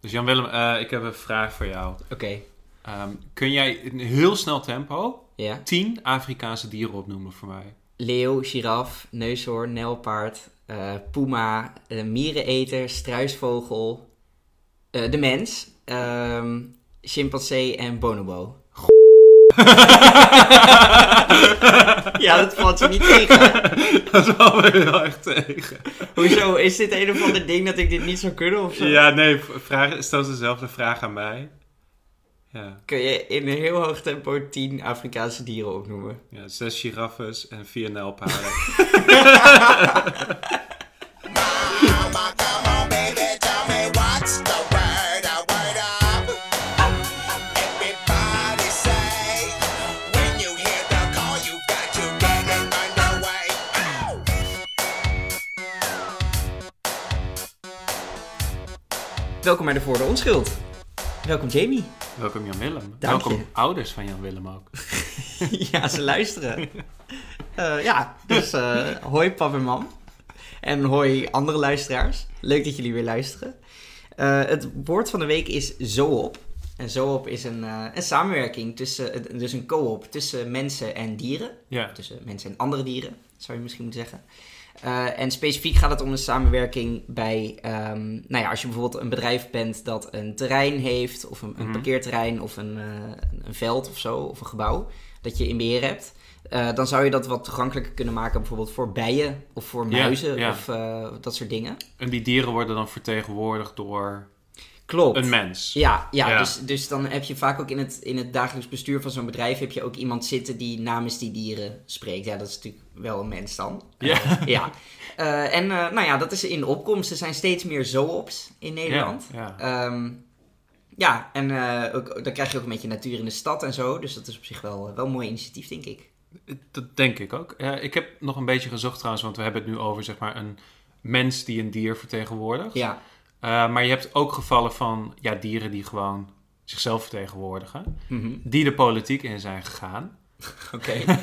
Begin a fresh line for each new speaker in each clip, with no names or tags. Dus Jan-Willem, eh, ik heb een vraag voor jou.
Oké,
Ehm, kun jij in heel snel tempo
ja.
10 Afrikaanse dieren opnoemen voor mij?
Leeuw, giraf, neushoorn, nijlpaard, eh, puma, eh, miereneter, struisvogel, eh, de mens, ehm, chimpansee en bonobo. Ja, dat valt je niet tegen.
dat valt me heel erg tegen.
Hoezo? Is dit een of ander ding dat ik dit niet zou kunnen of zo?
Ja, nee, v- vraag, stel dezelfde vraag aan mij. Ja,
Kun je in een heel hoog tempo 10 Afrikaanse dieren opnoemen?
ja zes giraffes en vier nijlpaarden.
Mama, come on, baby, tell me what's the word, a word up. Everybody say, when you hear the call, you got to get it underway. Ow!
Welkom bij de Voor de Onschuld. Welkom Jamie.
Welkom Jan-Willem.
Dank je.
Welkom ouders van Jan-Willem ook.
ja, ze luisteren. Eh, ja, dus eh, hoi pap en mam. En hoi andere luisteraars. Leuk dat jullie weer luisteren. Eh, het woord van de week is zoop. En zoop is een, eh, een samenwerking tussen, dus een co-op tussen mensen en dieren.
Ja.
Tussen mensen en andere dieren, zou je misschien moeten zeggen. Eh, en specifiek gaat het om de samenwerking bij, ehm, nou ja, als je bijvoorbeeld een bedrijf bent dat een terrein heeft, of een, een
Mhm.
parkeerterrein, of een, eh, een veld of zo, of een gebouw, dat je in beheer hebt. eh, dan zou je dat wat toegankelijker kunnen maken, bijvoorbeeld voor bijen of voor
Ja,
muizen
ja.
of eh, dat soort dingen.
En die dieren worden dan vertegenwoordigd door
Klopt.
een mens.
Ja, ja,
Ja.
Dus, dus dan heb je vaak ook in het, in het dagelijks bestuur van zo'n bedrijf... heb je ook iemand zitten die namens die dieren spreekt. Ja, dat is natuurlijk wel een mens dan.
Ja.
ja. Eh, en eh, nou ja, dat is in opkomst. Er zijn steeds meer zoops in Nederland.
Ja,
Ehm, ja, en eh, ook, dan krijg je ook een beetje natuur in de stad en zo. Dus dat is op zich wel, wel een mooi initiatief, denk ik.
Dat denk ik ook. Ja, ik heb nog een beetje gezocht trouwens, want we hebben het nu over zeg maar een mens die een dier vertegenwoordigt.
Ja,
Eh, maar je hebt ook gevallen van ja, dieren die gewoon zichzelf vertegenwoordigen,
Mhm.
die de politiek in zijn gegaan.
oké.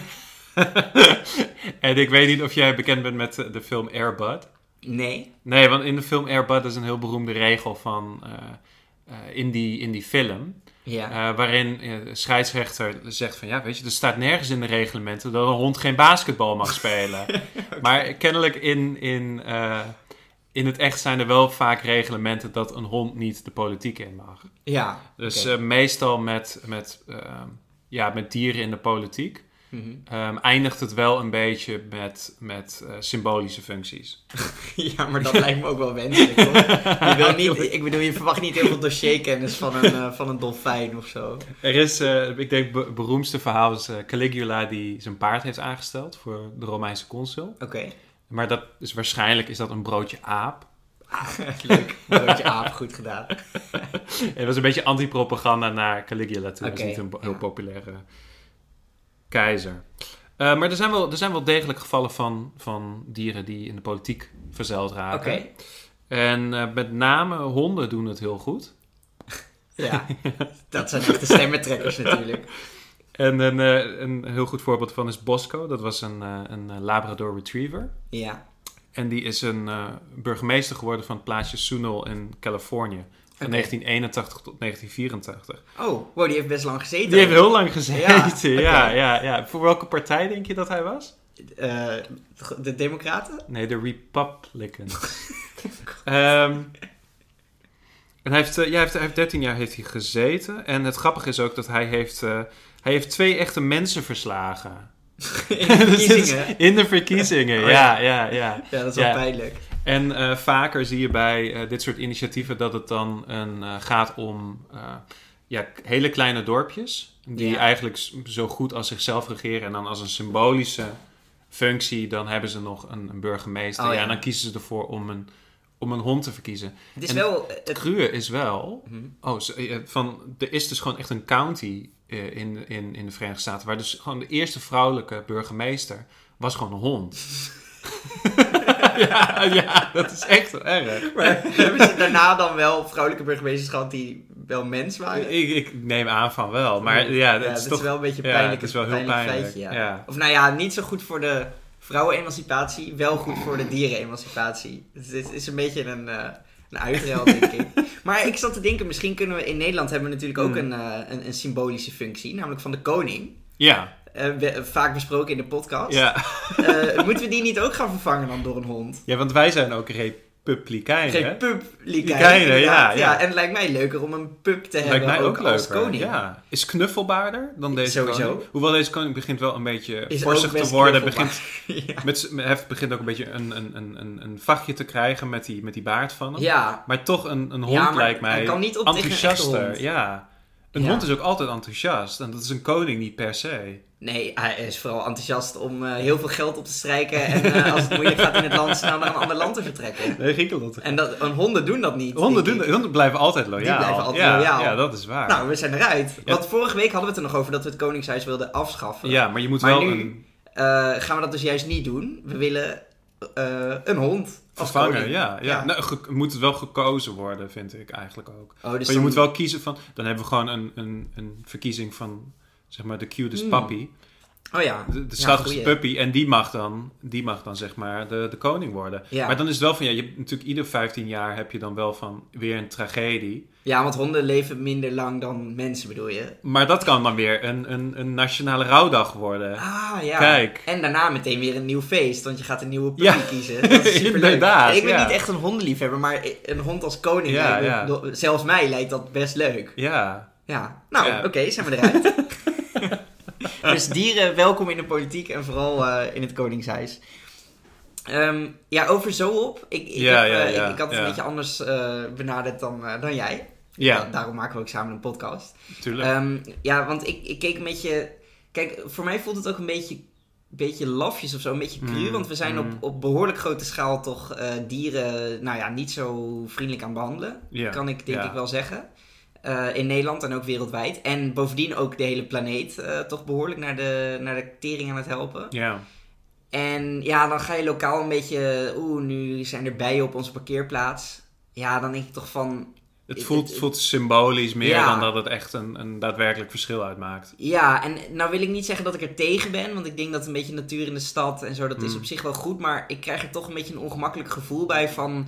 en ik weet niet of jij bekend bent met eh, de film Airbud.
Nee?
Nee, want in de film Airbud is een heel beroemde regel van eh, eh, in, die, in die film.
Ja.
Eh, waarin eh, de scheidsrechter zegt van ja, weet je, er staat nergens in de reglementen dat een hond geen basketbal mag spelen. Maar kennelijk in, in, eh, in het echt zijn er wel vaak reglementen dat een hond niet de politiek in mag.
ja.
Dus
oké.
eh, meestal met, met, ehm, ja, met dieren in de politiek
Mhm.
ehm, eindigt het wel een beetje met, met eh, symbolische functies.
Ja, maar dat lijkt me ook wel wenselijk, hoor. Je wil niet, ik bedoel, je verwacht niet heel veel dossierkennis van een, eh, van een dolfijn of zo.
Er is, eh, ik denk, het beroemdste verhaal is eh, Caligula die zijn paard heeft aangesteld voor de Romeinse consul.
Oké,
Maar dat is waarschijnlijk is dat een broodje aap.
leuk. Broodje aap, goed gedaan.
Het was een beetje antipropaganda naar Caligula toen. Dat
Oké,
is niet een bo- heel
ja.
populaire keizer. Eh, maar er zijn, wel, er zijn wel degelijk gevallen van, van dieren die in de politiek verzeild
Oké,
raken. En eh, met name honden doen het heel goed.
ja. Dat zijn echt de stemmetrekkers natuurlijk.
En een, eh, een heel goed voorbeeld van is Bosco. Dat was een, eh, een eh, Labrador Retriever.
Ja,
En die is een eh, burgemeester geworden van het plaatsje Sunol in Californië. Van
Oké.
1981 tot 1984.
oh, wow, die heeft best lang gezeten.
Die heeft heel lang gezeten,
Ja,
ja, ja,
oké.
ja, Voor welke partij denk je dat hij was?
Eh, de democraten?
Nee, de Republicans. Ehm, en hij heeft, eh, ja, hij heeft, hij heeft 13 jaar heeft hij gezeten. En het grappige is ook dat hij heeft, eh, hij heeft twee echte mensen verslagen.
In de
Dus dit is
verkiezingen?
in de verkiezingen,
Oh, ja.
ja, ja, ja.
Ja, dat is wel
Ja.
pijnlijk.
En eh, vaker zie je bij eh, dit soort initiatieven dat het dan een, eh, gaat om eh, ja, k- hele kleine dorpjes. Die
Ja.
eigenlijk s- zo goed als zichzelf regeren. En dan als een symbolische functie, dan hebben ze nog een, een burgemeester.
Oh,
ja.
ja.
en dan kiezen ze ervoor om een, om een hond te verkiezen.
Het is
En-
wel... eh,
Het
Het,
cruwe is wel...
Mhm.
Oh, zo- eh, van, er is dus gewoon echt een county eh, in, in, in de Verenigde Staten... waar dus gewoon de eerste vrouwelijke burgemeester was gewoon een hond. ja, ja, dat is echt wel erg.
maar hebben ze daarna dan wel vrouwelijke burgemeesters gehad die wel mens waren?
Ik, ik neem aan van wel, maar ja, dat is
dat
toch...
is wel een beetje
ja,
pijnlijk.
het is wel heel
pijnlijk
pijnlijk,
feitje, ja.
ja.
Of nou ja, niet zo goed voor de vrouwenemancipatie, wel goed voor de dierenemancipatie. Dus dit is een beetje een, eh een uitruil, denk ik. Maar ik zat te denken, misschien kunnen we in Nederland hebben we natuurlijk ook
Hmm.
een, eh, een, een symbolische functie, namelijk van de koning.
Ja,
Eh, we- vaak besproken in de podcast.
ja.
Eh, moeten we die niet ook gaan vervangen dan door een hond?
ja, want wij zijn ook republikeinen. hè?
Geen pub
Likijnen, ja,
ja,
ja.
En het lijkt mij leuker om een pub te
Lijkt
hebben
mij ook,
ook, Eh, als
leuker.
koning.
Ja. Is knuffelbaarder dan deze
Sowieso.
koning. Hoewel deze koning begint wel een beetje
Is
forsig
ook
te
best
worden. Begint,
knuffelbaar. ja.
met, z'n- heeft begint ook een beetje een, een, een, een, een vachtje te krijgen met die, met die baard van hem.
Ja.
Maar toch een, een hond
Ja, maar
lijkt mij
hij kan niet op tegen een echte
enthousiaster.
hond.
Ja. Een
Ja.
hond is ook altijd enthousiast. En dat is een koning niet per se.
Nee, hij is vooral enthousiast om eh, heel veel geld op te strijken en eh, als het moeilijk gaat in het land, snel naar een ander land te vertrekken.
Nee, Griekenland.
En dat, en honden doen dat niet.
Honden,
denk
doen,
Eh, ik.
honden blijven altijd loyaal.
blijven altijd
ja,
loyaal.
Ja, dat is waar.
Nou, we zijn eruit.
Ja.
Want vorige week hadden we het er nog over dat we het Koningshuis wilden afschaffen.
ja, maar je moet
Maar
wel
nu
een
eh, gaan we dat dus juist niet doen. We willen eh, een hond. als
vervanger.
koning.
Ja, ja. Nou, ge- moet het wel gekozen worden, vind ik eigenlijk ook.
Oh, dus
maar je
dan-
moet wel kiezen van... Dan hebben we gewoon een, een, een verkiezing van, zeg maar, de cutest
Hmm.
puppy.
Oh ja.
De, de
Ja,
schattigste
goeie.
puppy. En die mag dan, die mag dan zeg maar, de, de koning worden.
Ja.
Maar dan is het wel van... Ja, je hebt natuurlijk ieder 15 jaar heb je dan wel van weer een tragedie.
Ja, want honden leven minder lang dan mensen, bedoel je?
Maar dat kan dan weer een, een, een nationale rouwdag worden.
Ah, ja.
Kijk.
En daarna meteen weer een nieuw feest, want je gaat een nieuwe puppy
Ja.
kiezen. Dat is superleuk.
Inderdaad,
ik ben
ja.
niet echt een hondenliefhebber, maar een hond als koning,
Ja,
lijkt me-
ja.
do- zelfs mij lijkt dat best leuk.
Ja.
Ja, nou,
Ja.
oké, zijn we eruit. dus dieren, welkom in de politiek en vooral eh, in het Koningshuis. Ehm, ja, over zo op. Ik, ik,
Ja,
heb,
ja,
eh,
ja,
ik, ik had het
ja.
een beetje anders eh, benaderd dan, eh, dan jij.
Ja.
Da- daarom maken we ook samen een podcast.
Tuurlijk.
Ehm, ja, want ik, ik keek een beetje... Kijk, voor mij voelt het ook een beetje, beetje lafjes of zo. Een beetje cru,
Mm,
want we zijn
mm.
op, op behoorlijk grote schaal toch eh, dieren... Nou ja, niet zo vriendelijk aan behandelen.
Ja.
Kan ik denk
Ja.
ik wel zeggen. Eh, in Nederland en ook wereldwijd. En bovendien ook de hele planeet eh, toch behoorlijk naar de, naar de tering aan het helpen.
ja.
En ja, dan ga je lokaal een beetje... Oeh, nu zijn er bijen op onze parkeerplaats. Ja, dan denk ik toch van...
Het
Ik-
voelt,
ik-
voelt symbolisch meer
Ja.
dan dat het echt een, een daadwerkelijk verschil uitmaakt.
Ja, en nou wil ik niet zeggen dat ik er tegen ben, want ik denk dat een beetje natuur in de stad en zo, dat is op zich wel goed, maar ik krijg er toch een beetje een ongemakkelijk gevoel bij van,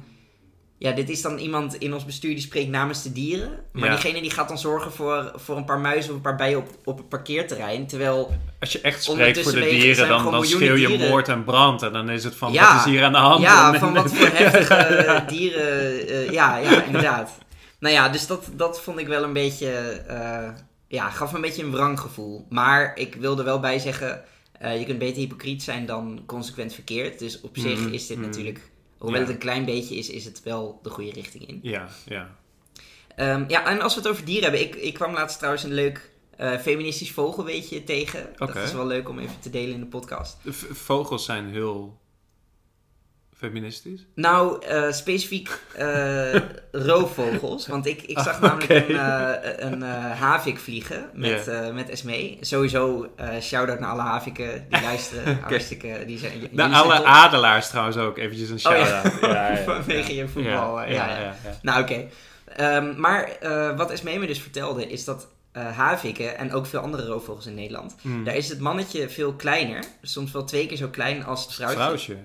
ja, dit is dan iemand in ons bestuur die spreekt namens de dieren, maar
Ja.
diegene die gaat dan zorgen voor, voor een paar muizen of een paar bijen op, op het parkeerterrein, terwijl,
Als je echt spreekt voor
Ondertussen
de
wegen-
dieren,
zijn er
dan,
gewoon
dan schreeuw
miljoenen
je
dieren.
moord en brand. En dan is het van,
Ja.
wat is hier aan de hand?
ja,
En-
van wat voor heftige eh, dieren, eh, ja, ja, inderdaad. Nou ja, dus dat, dat vond ik wel een beetje, eh, ja, gaf me een beetje een wrang gevoel. Maar ik wil er wel bij zeggen, eh, je kunt beter hypocriet zijn dan consequent verkeerd. Dus op zich
Mhm,
is dit
mhm.
natuurlijk, hoewel
Ja.
het een klein beetje is, is het wel de goede richting in.
Ja, ja.
Ehm, ja, en als we het over dieren hebben, ik, ik kwam laatst trouwens een leuk eh, feministisch vogelweetje tegen.
Oké.
Dat is wel leuk om even te delen in de podcast.
De v- vogels zijn heel feministisch.
Nou, eh, specifiek eh, roofvogels. Want ik, ik zag
Ah,
namelijk
oké.
een, eh, een eh, havik vliegen met, eh, met Esmee. Sowieso eh shout-out naar alle haviken die luisteren. Hartstikke, die zijn, jullie
De
zijn
alle
top.
adelaars trouwens ook, eventjes een
Oh, ja.
shout-out. ja.
Vanwege je voetbal. eh, ja, ja.
ja.
Nou, oké. Ehm, maar eh, wat Esmee me dus vertelde is dat eh, haviken en ook veel andere roofvogels in Nederland...
Mm.
Daar is het mannetje veel kleiner. Soms wel twee keer zo klein als het vrouwtje.
Vrouwtje.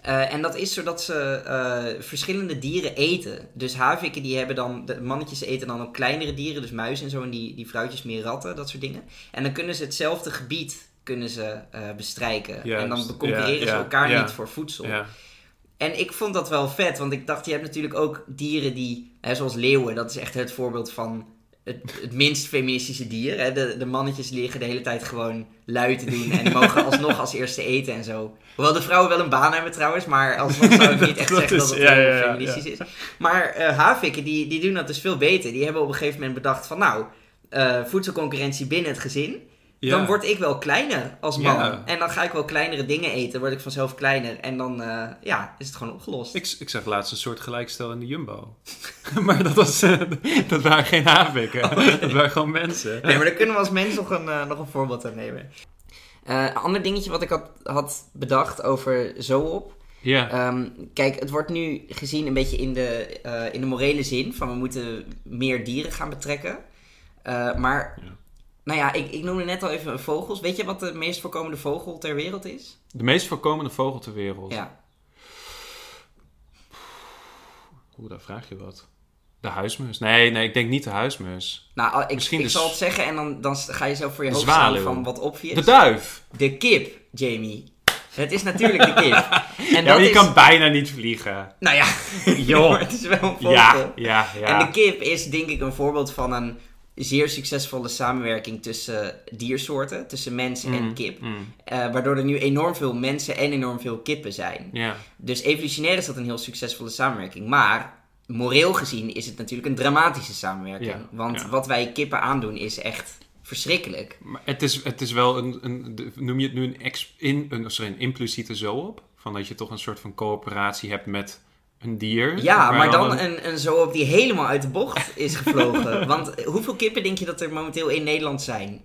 Eh, en dat is zodat ze eh, verschillende dieren eten. Dus haviken die hebben dan, de mannetjes eten dan ook kleinere dieren, dus muizen en zo, en die, die vrouwtjes meer ratten, dat soort dingen. En dan kunnen ze hetzelfde gebied kunnen ze, eh, bestrijken.
Juist,
En dan concurreren
ja,
ze
ja,
elkaar
ja.
niet voor voedsel.
Ja.
En ik vond dat wel vet, want ik dacht, je hebt natuurlijk ook dieren die, hè, zoals leeuwen, dat is echt het voorbeeld van het, het minst feministische dier. Hè. De, de mannetjes liggen de hele tijd gewoon lui te doen en mogen alsnog als eerste eten en zo. Hoewel de vrouwen wel een baan hebben trouwens, maar alsnog zou ik niet echt
Dat
zeggen dat
is-
het
ja,
heel
ja, ja,
feministisch is. Maar eh, havikken, die, die doen dat dus veel beter. Die hebben op een gegeven moment bedacht van, nou, eh, voedselconcurrentie binnen het gezin.
Ja.
Dan word ik wel kleiner als man.
Ja.
En dan ga ik wel kleinere dingen eten. Word ik vanzelf kleiner. En dan eh, ja, is het gewoon opgelost.
Ik, ik zag laatst een soort gelijkstel in de Jumbo. maar dat, was, eh, dat waren geen havikken.
Oh.
Dat waren gewoon mensen.
Nee, maar daar kunnen we als mens nog een, eh, nog een voorbeeld aan nemen. Eh, Een ander dingetje wat ik had, had bedacht over zo op.
Ja.
Ehm, kijk, het wordt nu gezien een beetje in de, eh, in de morele zin van we moeten meer dieren gaan betrekken. Eh, maar,
Ja.
nou ja, ik, ik noemde net al even vogels. Weet je wat de meest voorkomende vogel ter wereld is?
De meest voorkomende vogel ter wereld.
Ja.
Oeh, daar vraag je wat. De huismus? Nee, nee, ik denk niet de huismus.
Nou, ah, ik,
Misschien
ik
de
zal
s-
het zeggen en dan, dan ga je zelf voor je
De
hoofd staan
zwaluw.
van wat obvious.
De duif!
De kip, Jamie. Het is natuurlijk de kip. En
Ja, maar je
is-
kan bijna niet vliegen.
Nou ja,
Joh.
maar het is wel een vogel.
Ja, ja, ja.
En de kip is denk ik een voorbeeld van een zeer succesvolle samenwerking tussen diersoorten, tussen mens en kip.
mm.
Eh, waardoor er nu enorm veel mensen en enorm veel kippen zijn.
Ja.
Dus evolutionair is dat een heel succesvolle samenwerking. Maar moreel gezien is het natuurlijk een dramatische samenwerking.
Ja,
Want
ja.
wat wij kippen aandoen is echt verschrikkelijk.
Maar het is, het is wel een, een de- noem je het nu een, ex, in, een, sorry, een impliciete zo-op? Van dat je toch een soort van coöperatie hebt met een dier?
Ja,
waar
maar dan eh,
alle-
een, een zoop die helemaal uit de bocht is gevlogen. Want hoeveel kippen denk je dat er momenteel in Nederland zijn?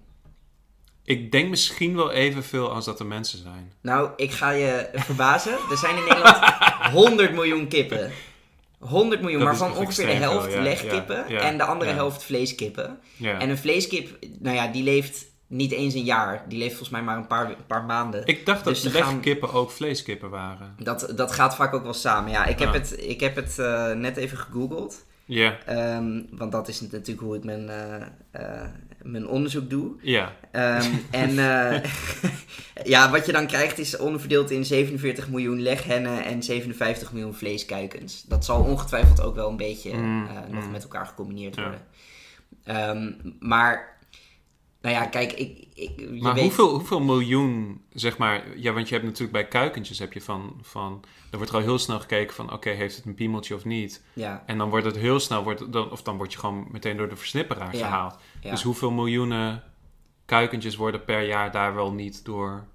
Ik denk misschien wel evenveel als dat er mensen zijn.
Nou, ik ga je verbazen. Er zijn in Nederland 100 miljoen kippen. 100 miljoen,
Dat
maar
is
van
nog
ongeveer de
extreem veel,
helft
ja,
legkippen
ja, ja,
en de andere
ja.
helft vleeskkippen.
Ja.
En een vleeskip, nou ja, die leeft niet eens een jaar. Die leeft volgens mij maar een paar, een paar maanden.
Ik dacht
Dus
dat
er gaan-
legkippen ook vleeskippen waren.
Dat, dat gaat vaak ook wel samen. Ja, ik heb
Ja.
het, ik heb het eh, net even gegoogeld.
Ja,
Ehm, want dat is natuurlijk hoe ik mijn, eh, eh, mijn onderzoek doe.
ja.
Ehm, en eh, ja, wat je dan krijgt is onverdeeld in 47 miljoen leghennen en 57 miljoen vleeskuikens. Dat zal ongetwijfeld ook wel een beetje
Mm,
eh, nog
mm.
met elkaar gecombineerd
Ja.
worden. Ehm, maar, nou ja, kijk, ik, ik, je
Maar
weet...
hoeveel, hoeveel miljoen, zeg maar... Ja, want je hebt natuurlijk bij kuikentjes heb je van... van er wordt al heel snel gekeken van... Oké, heeft het een piemeltje of niet?
Ja,
En dan wordt het heel snel... Wordt, dan, of dan word je gewoon meteen door de versnipperaar
Ja,
gehaald.
ja.
Dus hoeveel miljoenen kuikentjes worden per jaar daar wel niet door,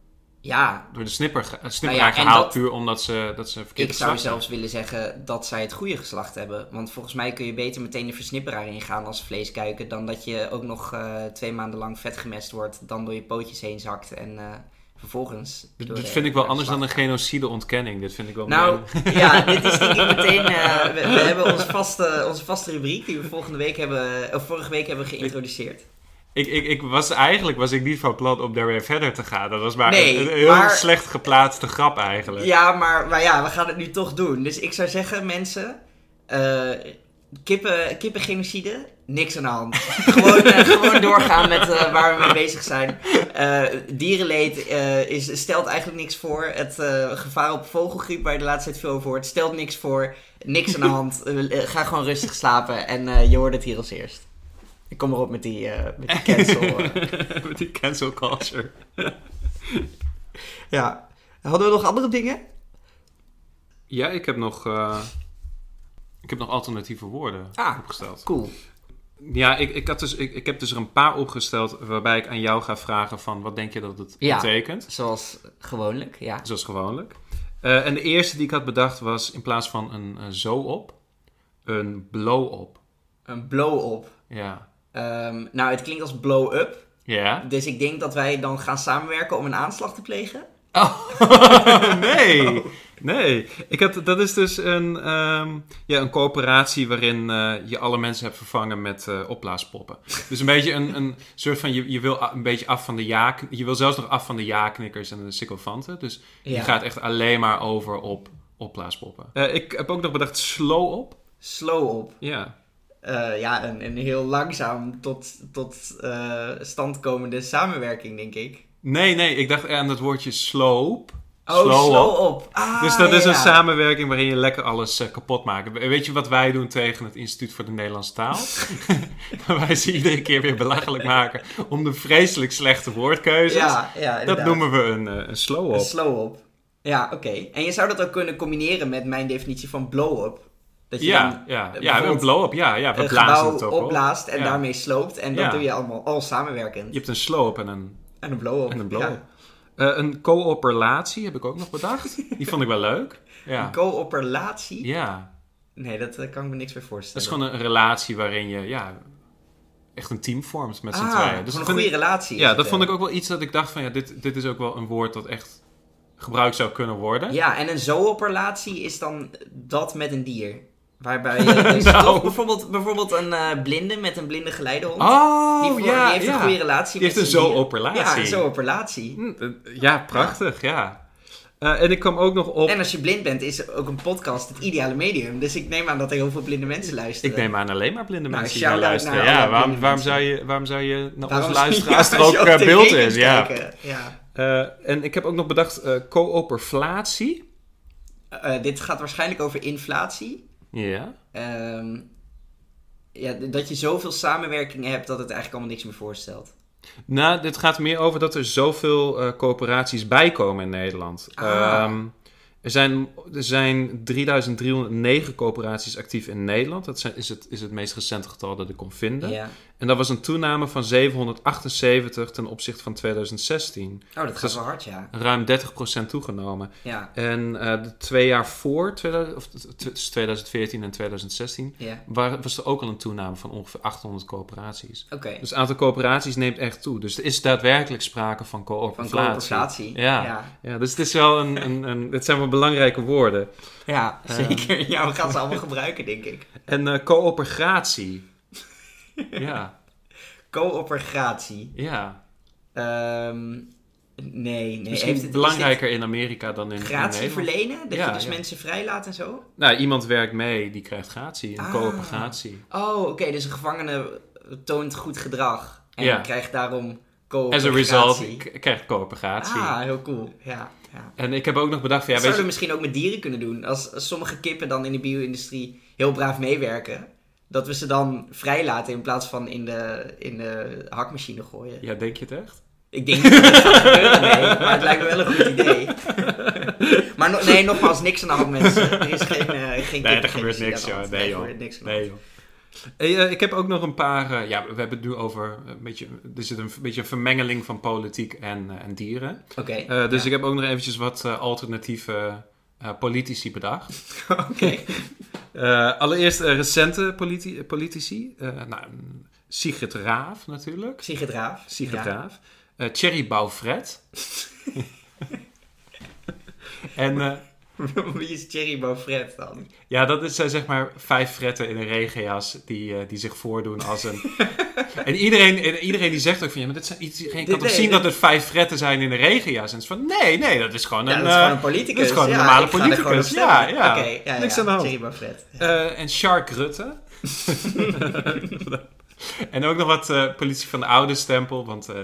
ja,
door de snipper, ge- eh, snipperaar
Nou ja, en
gehaald?
dat-
puur omdat ze, dat ze verkeerd
ik zou
geslacht
zelfs willen zeggen dat zij het goede geslacht hebben. Want volgens mij kun je beter meteen de versnipperaar ingaan als vleeskuiken... dan dat je ook nog eh, twee maanden lang vet gemest wordt... dan door je pootjes heen zakt en eh, vervolgens...
Dit-
door
Dit
de-
vind ik wel
door de
anders dan
slacht-
een genocide ontkenning. Dit vind ik wel
Nou,
meer-
ja, dit is denk ik meteen... eh, we, we hebben onze vaste, onze vaste rubriek die we volgende week hebben, eh, of vorige week hebben geïntroduceerd.
Ik, ik, ik was eigenlijk was ik niet van plan om daarmee verder te gaan. Dat was maar
Nee,
een, een heel
maar-
slecht geplaatste grap eigenlijk.
Ja, maar, maar ja, we gaan het nu toch doen. Dus ik zou zeggen, mensen... eh, kippen, kippengenocide, niks aan de hand. gewoon, eh, gewoon doorgaan met eh, waar we mee bezig zijn. Eh, dierenleed eh, is, stelt eigenlijk niks voor. Het eh, gevaar op vogelgriep, waar je de laatste tijd veel over hoort, stelt niks voor. Niks aan de hand. Eh, eh, ga gewoon rustig slapen. En eh, je hoort het hier als eerst. Ik kom erop met die, eh, met die cancel. eh.
Met die cancel culture.
ja. Hadden we nog andere dingen?
Ja, ik heb nog, eh, ik heb nog alternatieve woorden
Ah,
opgesteld.
Cool.
Ja, ik, ik, had dus, ik, ik heb dus er een paar opgesteld waarbij ik aan jou ga vragen van wat denk je dat het
Ja.
betekent?
Zoals gewoonlijk, ja.
Zoals gewoonlijk. Eh, en de eerste die ik had bedacht was in plaats van een eh, zo op, een blow op.
Een blow-up.
Ja.
Ehm, nou, het klinkt als blow-up.
Ja?
Dus ik denk dat wij dan gaan samenwerken om een aanslag te plegen.
Oh, nee. Nee. Ik had, dat is dus een, ehm, ja, een coöperatie waarin eh, je alle mensen hebt vervangen met eh, opblaaspoppen. Dus een beetje een, een soort van, je, je wil a- een beetje af van de ja... Je wil zelfs nog af van de ja-knikkers en de sycophanten. Dus je
Ja.
gaat echt alleen maar over op opblaaspoppen. Eh, ik heb ook nog bedacht slow op.
Slow-up.
Ja.
Eh, ja, een, een heel langzaam tot, tot eh, stand komende samenwerking, denk ik.
Nee, nee. Ik dacht aan het woordje sloop.
Oh,
Slow op.
slow-up. Ah,
Dus dat
ja,
is een
ja.
samenwerking waarin je lekker alles eh, kapot maakt. Weet je wat wij doen tegen het Instituut voor de Nederlandse Taal? wij ze iedere keer weer belachelijk maken om de vreselijk slechte woordkeuzes.
Ja, ja
dat
inderdaad.
noemen we een, eh, een slow-up.
Een slow-up. Ja, oké. En je zou dat ook kunnen combineren met mijn definitie van blow-up. Dat je
ja,
dan eh,
ja, ja, een
bijvoorbeeld
blow-up. Ja, ja, we
een
blazen
gebouw
het ook op.
opblaast en
Ja.
daarmee sloopt. En dat
Ja.
doe je allemaal al samenwerkend.
Je hebt een slow-up en een,
En een blow-up.
en een blow-up.
Ja.
Eh, een coöperatie heb ik ook nog bedacht. Die vond ik wel leuk. Ja,
Co-operatie?
ja.
Nee, dat eh, kan ik me niks meer voorstellen.
dat is gewoon een relatie waarin je ja, echt een team vormt met z'n
Ah,
tweeën. Dus
gewoon
dat
een
vind ik-
goede relatie.
Ja, dat vond ik ook wel iets dat ik dacht van ja, dit, dit is ook wel een woord dat echt gebruikt zou kunnen worden.
Ja, en een zo-op-relatie is dan dat met een dier. Waarbij je dus
Nou.
toch bijvoorbeeld, bijvoorbeeld een eh, blinde met een blinde geleidehond.
Oh,
die, voor-
ja,
die heeft
ja.
een goede relatie
Die
met
heeft een Nou. Hm,
zijn dier.
zo-op-relatie.
Ja, een zo-op-relatie.
Hm, eh, Ja, prachtig, ja. Eh, en ik kwam ook nog op...
En als je blind bent, is ook een podcast het ideale medium. Dus ik neem aan dat er heel veel blinde mensen luisteren.
Ik neem aan alleen maar blinde
Nou,
mensen die naar
shout-out
luisteren.
naar
ja,
alle
waarom,
blinde
waarom,
mensen.
zou je, waarom zou je naar
Waarom-
ons luisteren als
Ja,
er ook
je op
eh,
tv
beeld
kunt
is? Ja.
kijken. ja.
Eh, en ik heb ook nog bedacht eh coöperflatie.
Eh, dit gaat waarschijnlijk over inflatie.
Ja.
Ehm, ja, d- dat je zoveel samenwerkingen hebt dat het eigenlijk allemaal niks meer voorstelt.
Nou, dit gaat meer over dat er zoveel eh, coöperaties bijkomen in Nederland.
Ah.
Ehm, er, zijn, er zijn 3309 coöperaties actief in Nederland. Dat zijn, is, het, is het meest recente getal dat ik kon vinden.
Ja.
En dat was een toename van 778 ten opzichte van 2016.
Oh, dat gaat
Dus-
wel hard, ja.
Ruim 30% toegenomen.
Ja,
En eh, de twee jaar voor, 2000 of t- t- tussen 2014 en 2016,
ja.
waar- was er ook al een toename van ongeveer 800 coöperaties.
Oké.
Dus het aantal coöperaties neemt echt toe. Dus er is daadwerkelijk sprake van
Van
coöperatie.
coöperatie.
Ja.
ja.
Ja, dus het is wel een, een, een... Het zijn wel belangrijke woorden.
Ja,
Ehm.
zeker. Ja, we gaan ze allemaal gebruiken, denk ik.
En eh coöperatie. ja,
Coöperatie.
ja.
Ehm, nee, nee.
Misschien
het- is
belangrijker in Amerika dan in,
dit
in
Gratie
Nederland.
verlenen? Dat
Ja,
je dus
ja.
mensen vrijlaat en zo?
Nou, iemand werkt mee, die krijgt gratie. Een
Ah.
coöperatie.
Oh, oké. dus een gevangene toont goed gedrag. En
Ja.
krijgt daarom
As a
coöperatie.
result, k- krijgt coöperatie.
Ah, heel cool. Ja, ja.
En ik heb ook nog bedacht van, ja,
Dat
weet je,
zouden we misschien ook met dieren kunnen doen. Als, als sommige kippen dan in de bio-industrie heel braaf meewerken. Dat we ze dan vrijlaten in plaats van in de, in de hakmachine gooien.
Ja, denk je het echt?
Ik denk niet dat het gaat gebeuren, nee. Maar het lijkt me wel een goed idee. maar no- nee, nogmaals, niks aan de hand, mensen. Er is geen... eh, geen
Nee, er
kip-
gebeurt
geen
niks,
ziekte aan de
joh. Nee,
hand. Er
joh.
gebeurt niks aan de
Nee, joh. Hey, eh, ik heb ook nog een paar... eh, ja, we hebben het nu over... eh, Een beetje, er zit een v- beetje een vermengeling van politiek en, eh, en dieren.
hand. Oké.
Eh, dus
ja.
ik heb ook nog eventjes wat eh, alternatieve eh, politici bedacht.
Oké.
Eh, allereerst eh, recente politi- politici. Eh, nou, Sigrid Raaf natuurlijk.
Sigrid Raaf.
Sigrid
Ja.
Raaf. Eh, Thierry Bouwfred. en... eh,
Wie is Thierry Beaufret dan?
Ja, dat is eh, zeg maar vijf fretten in een regenjas die, eh, die zich voordoen als een... en, iedereen, en iedereen die zegt ook van, ja, maar dit zijn, iedereen kan
Dit-
toch
nee,
zien
dit-
dat het vijf fretten zijn in een regenjas? En het is van, nee, nee, dat is gewoon
Ja,
een...
dat is gewoon een
eh,
politicus.
dat is gewoon een
Ja,
normale
ik ga er gewoon op
politicus.
stemmen.
Ja, ja.
Oké, ja, ja.
Niks aan de hand.
Thierry Beaufret.
eh, en Shark Rutte. en ook nog wat eh, politie van de oude stempel, want... eh,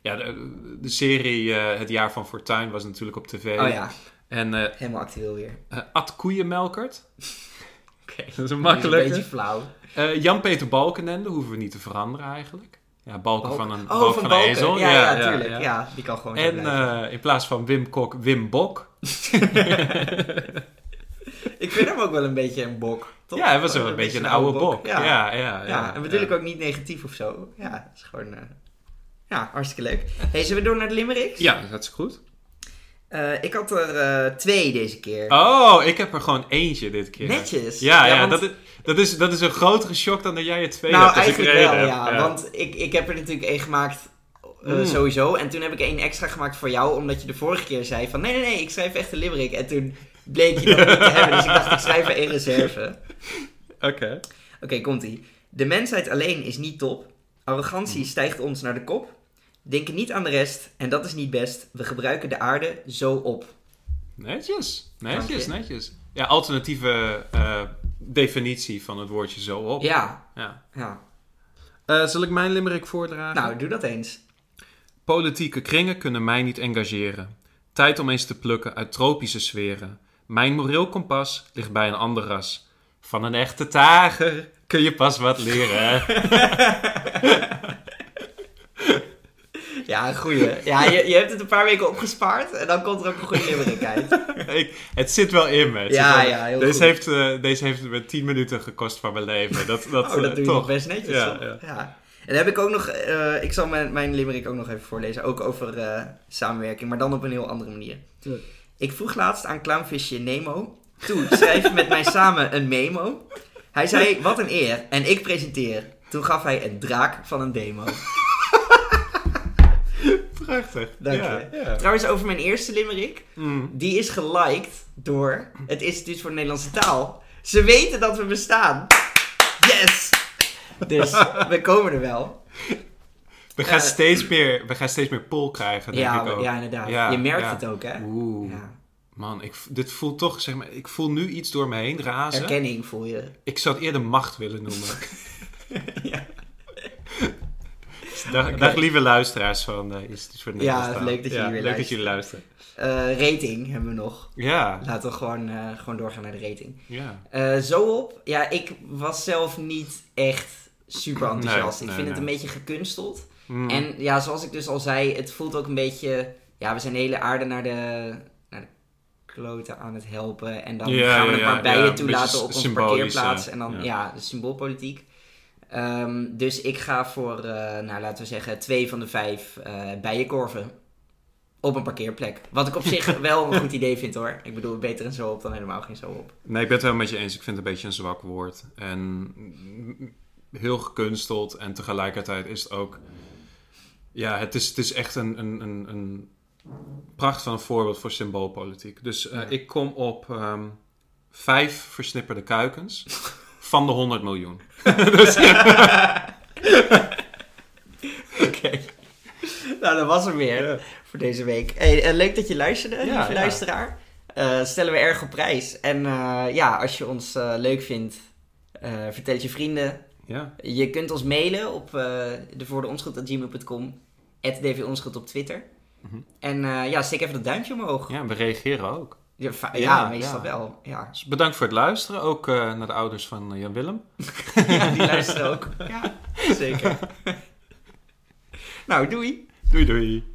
ja, de, de serie eh, Het Jaar van Fortuin was natuurlijk op tv.
Oh ja,
En eh,
helemaal actueel weer.
eh, Ad Koeienmelkert.
Oké.
Dat is een
Een
makkelijke.
beetje flauw.
Eh, Jan-Peter Balkenende hoeven we niet te veranderen eigenlijk. Ja, balken van een,
oh,
balk
van
van
Balken.
een ezel.
Ja, ja, tuurlijk. Ja. die kan gewoon zo
En
blijven.
eh, in plaats van Wim Kok, Wim Bok.
Ik vind hem ook wel een beetje een bok. Oh, Toch?
Ja, hij was wel
Gewoon
een beetje een oude bok. Ja, ja, ja.
Ja, en bedoel ik ook niet negatief of zo. Ja, het is gewoon... eh, ja, hartstikke leuk. Hey, zullen we door naar de limericks?
Ja, dat is goed.
Eh, ik had er eh, twee deze keer.
Oh, ik heb er gewoon eentje dit keer.
Netjes.
Ja, ja,
want-
dat, is, dat, is, dat is een grotere shock dan dat jij het twee
Nou,
hebt. als ik
eigenlijk
er één
wel,
heb.
ja. Want ik, ik heb er natuurlijk één gemaakt eh,
Mm.
sowieso. En toen heb ik één extra gemaakt voor jou, omdat je de vorige keer zei van... Nee, nee, nee, ik schrijf echt een limerick. En toen bleek je dat niet te hebben, dus ik dacht, ik schrijf er één reserve.
Oké.
Oké, komt-ie. De mensheid alleen is niet top. Arrogantie stijgt ons naar de kop. Denken niet aan de rest en dat is niet best. We gebruiken de aarde zo op.
Netjes. Netjes,
Dank
netjes. Ja, alternatieve eh, definitie van het woordje zo op.
Ja,
Ja.
ja.
Eh, zal ik mijn limerick voordragen?
Nou, doe dat eens.
Politieke kringen kunnen mij niet engageren. Tijd om eens te plukken uit tropische sferen. Mijn moreel kompas ligt bij een ander ras. Van een echte tager kun je pas wat leren.
Ja, een goeie. Ja, je, je hebt het een paar weken opgespaard en dan komt er ook een goede limerick uit.
Ik, het zit wel in me. Het
Ja,
zit wel in.
ja, heel
deze,
goed.
Heeft, eh, deze heeft me 10 minuten gekost van mijn leven. Dat, dat,
Oh, dat
eh,
doe je
toch.
nog best netjes,
Ja,
toch?
ja.
Ja. En dan heb ik ook nog... eh, ik zal mijn, mijn limerick ook nog even voorlezen. Ook over eh, samenwerking, maar dan op een heel andere manier.
Ja.
Ik vroeg laatst aan clownvisje Nemo. Toen schreef met mij samen een memo. Hij zei, wat een eer. En ik presenteer. Toen gaf hij een draak van een demo.
Prachtig.
Dank
Ja,
je.
ja.
Trouwens, over mijn eerste limerick.
Mm.
Die is geliked door het Instituut voor de Nederlandse Taal. Ze weten dat we bestaan. Yes! Dus we komen er wel.
We, gaan
Eh.
steeds meer, we gaan steeds meer poll krijgen, denk
Ja,
ik ook.
ja, inderdaad.
Ja,
je merkt
ja.
het ook, hè?
Oeh.
Ja.
Man, ik, v- dit voelt toch, zeg maar, ik voel nu iets door me heen razen.
Herkenning voel je.
Ik zou het eerder macht willen noemen.
Ja.
Dag, dag lieve luisteraars van eh, Instituut voor de
Ja,
Nederlandstaal.
leuk dat jullie weer
leuk dat jullie luisteren.
Eh, rating hebben we nog.
Ja,
Laten we gewoon, eh, gewoon doorgaan naar de rating.
ja.
Eh, zo op. Ja, ik was zelf niet echt super
Nee,
enthousiast. ik
nee,
vind het
nee.
een beetje gekunsteld.
Mm.
En ja, zoals ik dus al zei, het voelt ook een beetje... Ja, we zijn de hele aarde naar de, naar de kloten aan het helpen. En dan
Ja,
gaan we
ja,
het
ja,
maar bij
ja,
je
een beetje
toelaten op onze
symbolisch,
parkeerplaats.
eh,
En dan,
ja.
ja, de symboolpolitiek. Ehm, dus ik ga voor, eh, nou laten we zeggen, twee van de vijf eh bijenkorven. Op een parkeerplek. Wat ik op zich wel een goed idee vind hoor. Ik bedoel, beter een zo op dan helemaal geen zo op.
Nee, ik ben het wel met je eens. Ik vind het een beetje een zwak woord. En mm, heel gekunsteld. En tegelijkertijd is het ook... Ja, het is, het is echt een, een, een, een pracht van een voorbeeld voor symboolpolitiek. Dus eh,
Ja.
ik kom op ehm, vijf versnipperde kuikens van de 100 miljoen.
Oké. nou, dat was hem weer voor deze week. Hey, eh, leuk dat je luisterde,
Ja, ja.
lieve luisteraar. Eh, stellen we erg op prijs. En eh, ja, als je ons eh, leuk vindt, eh, vertel het je vrienden.
Ja,
Je kunt ons mailen op eh, devoordeonschuld.gmail.com. @dvonschuld op Twitter.
Mhm.
En eh, ja, steek even dat duimpje omhoog. Ja,
ja we reageren ook.
fa-
Ja,
ja, meestal
ja.
wel. Ja.
Dus bedankt voor het luisteren. Ook eh, naar de ouders van eh, Jan Willem.
ja, die luisteren ook. Ja, zeker. nou, doei.
Doei doei.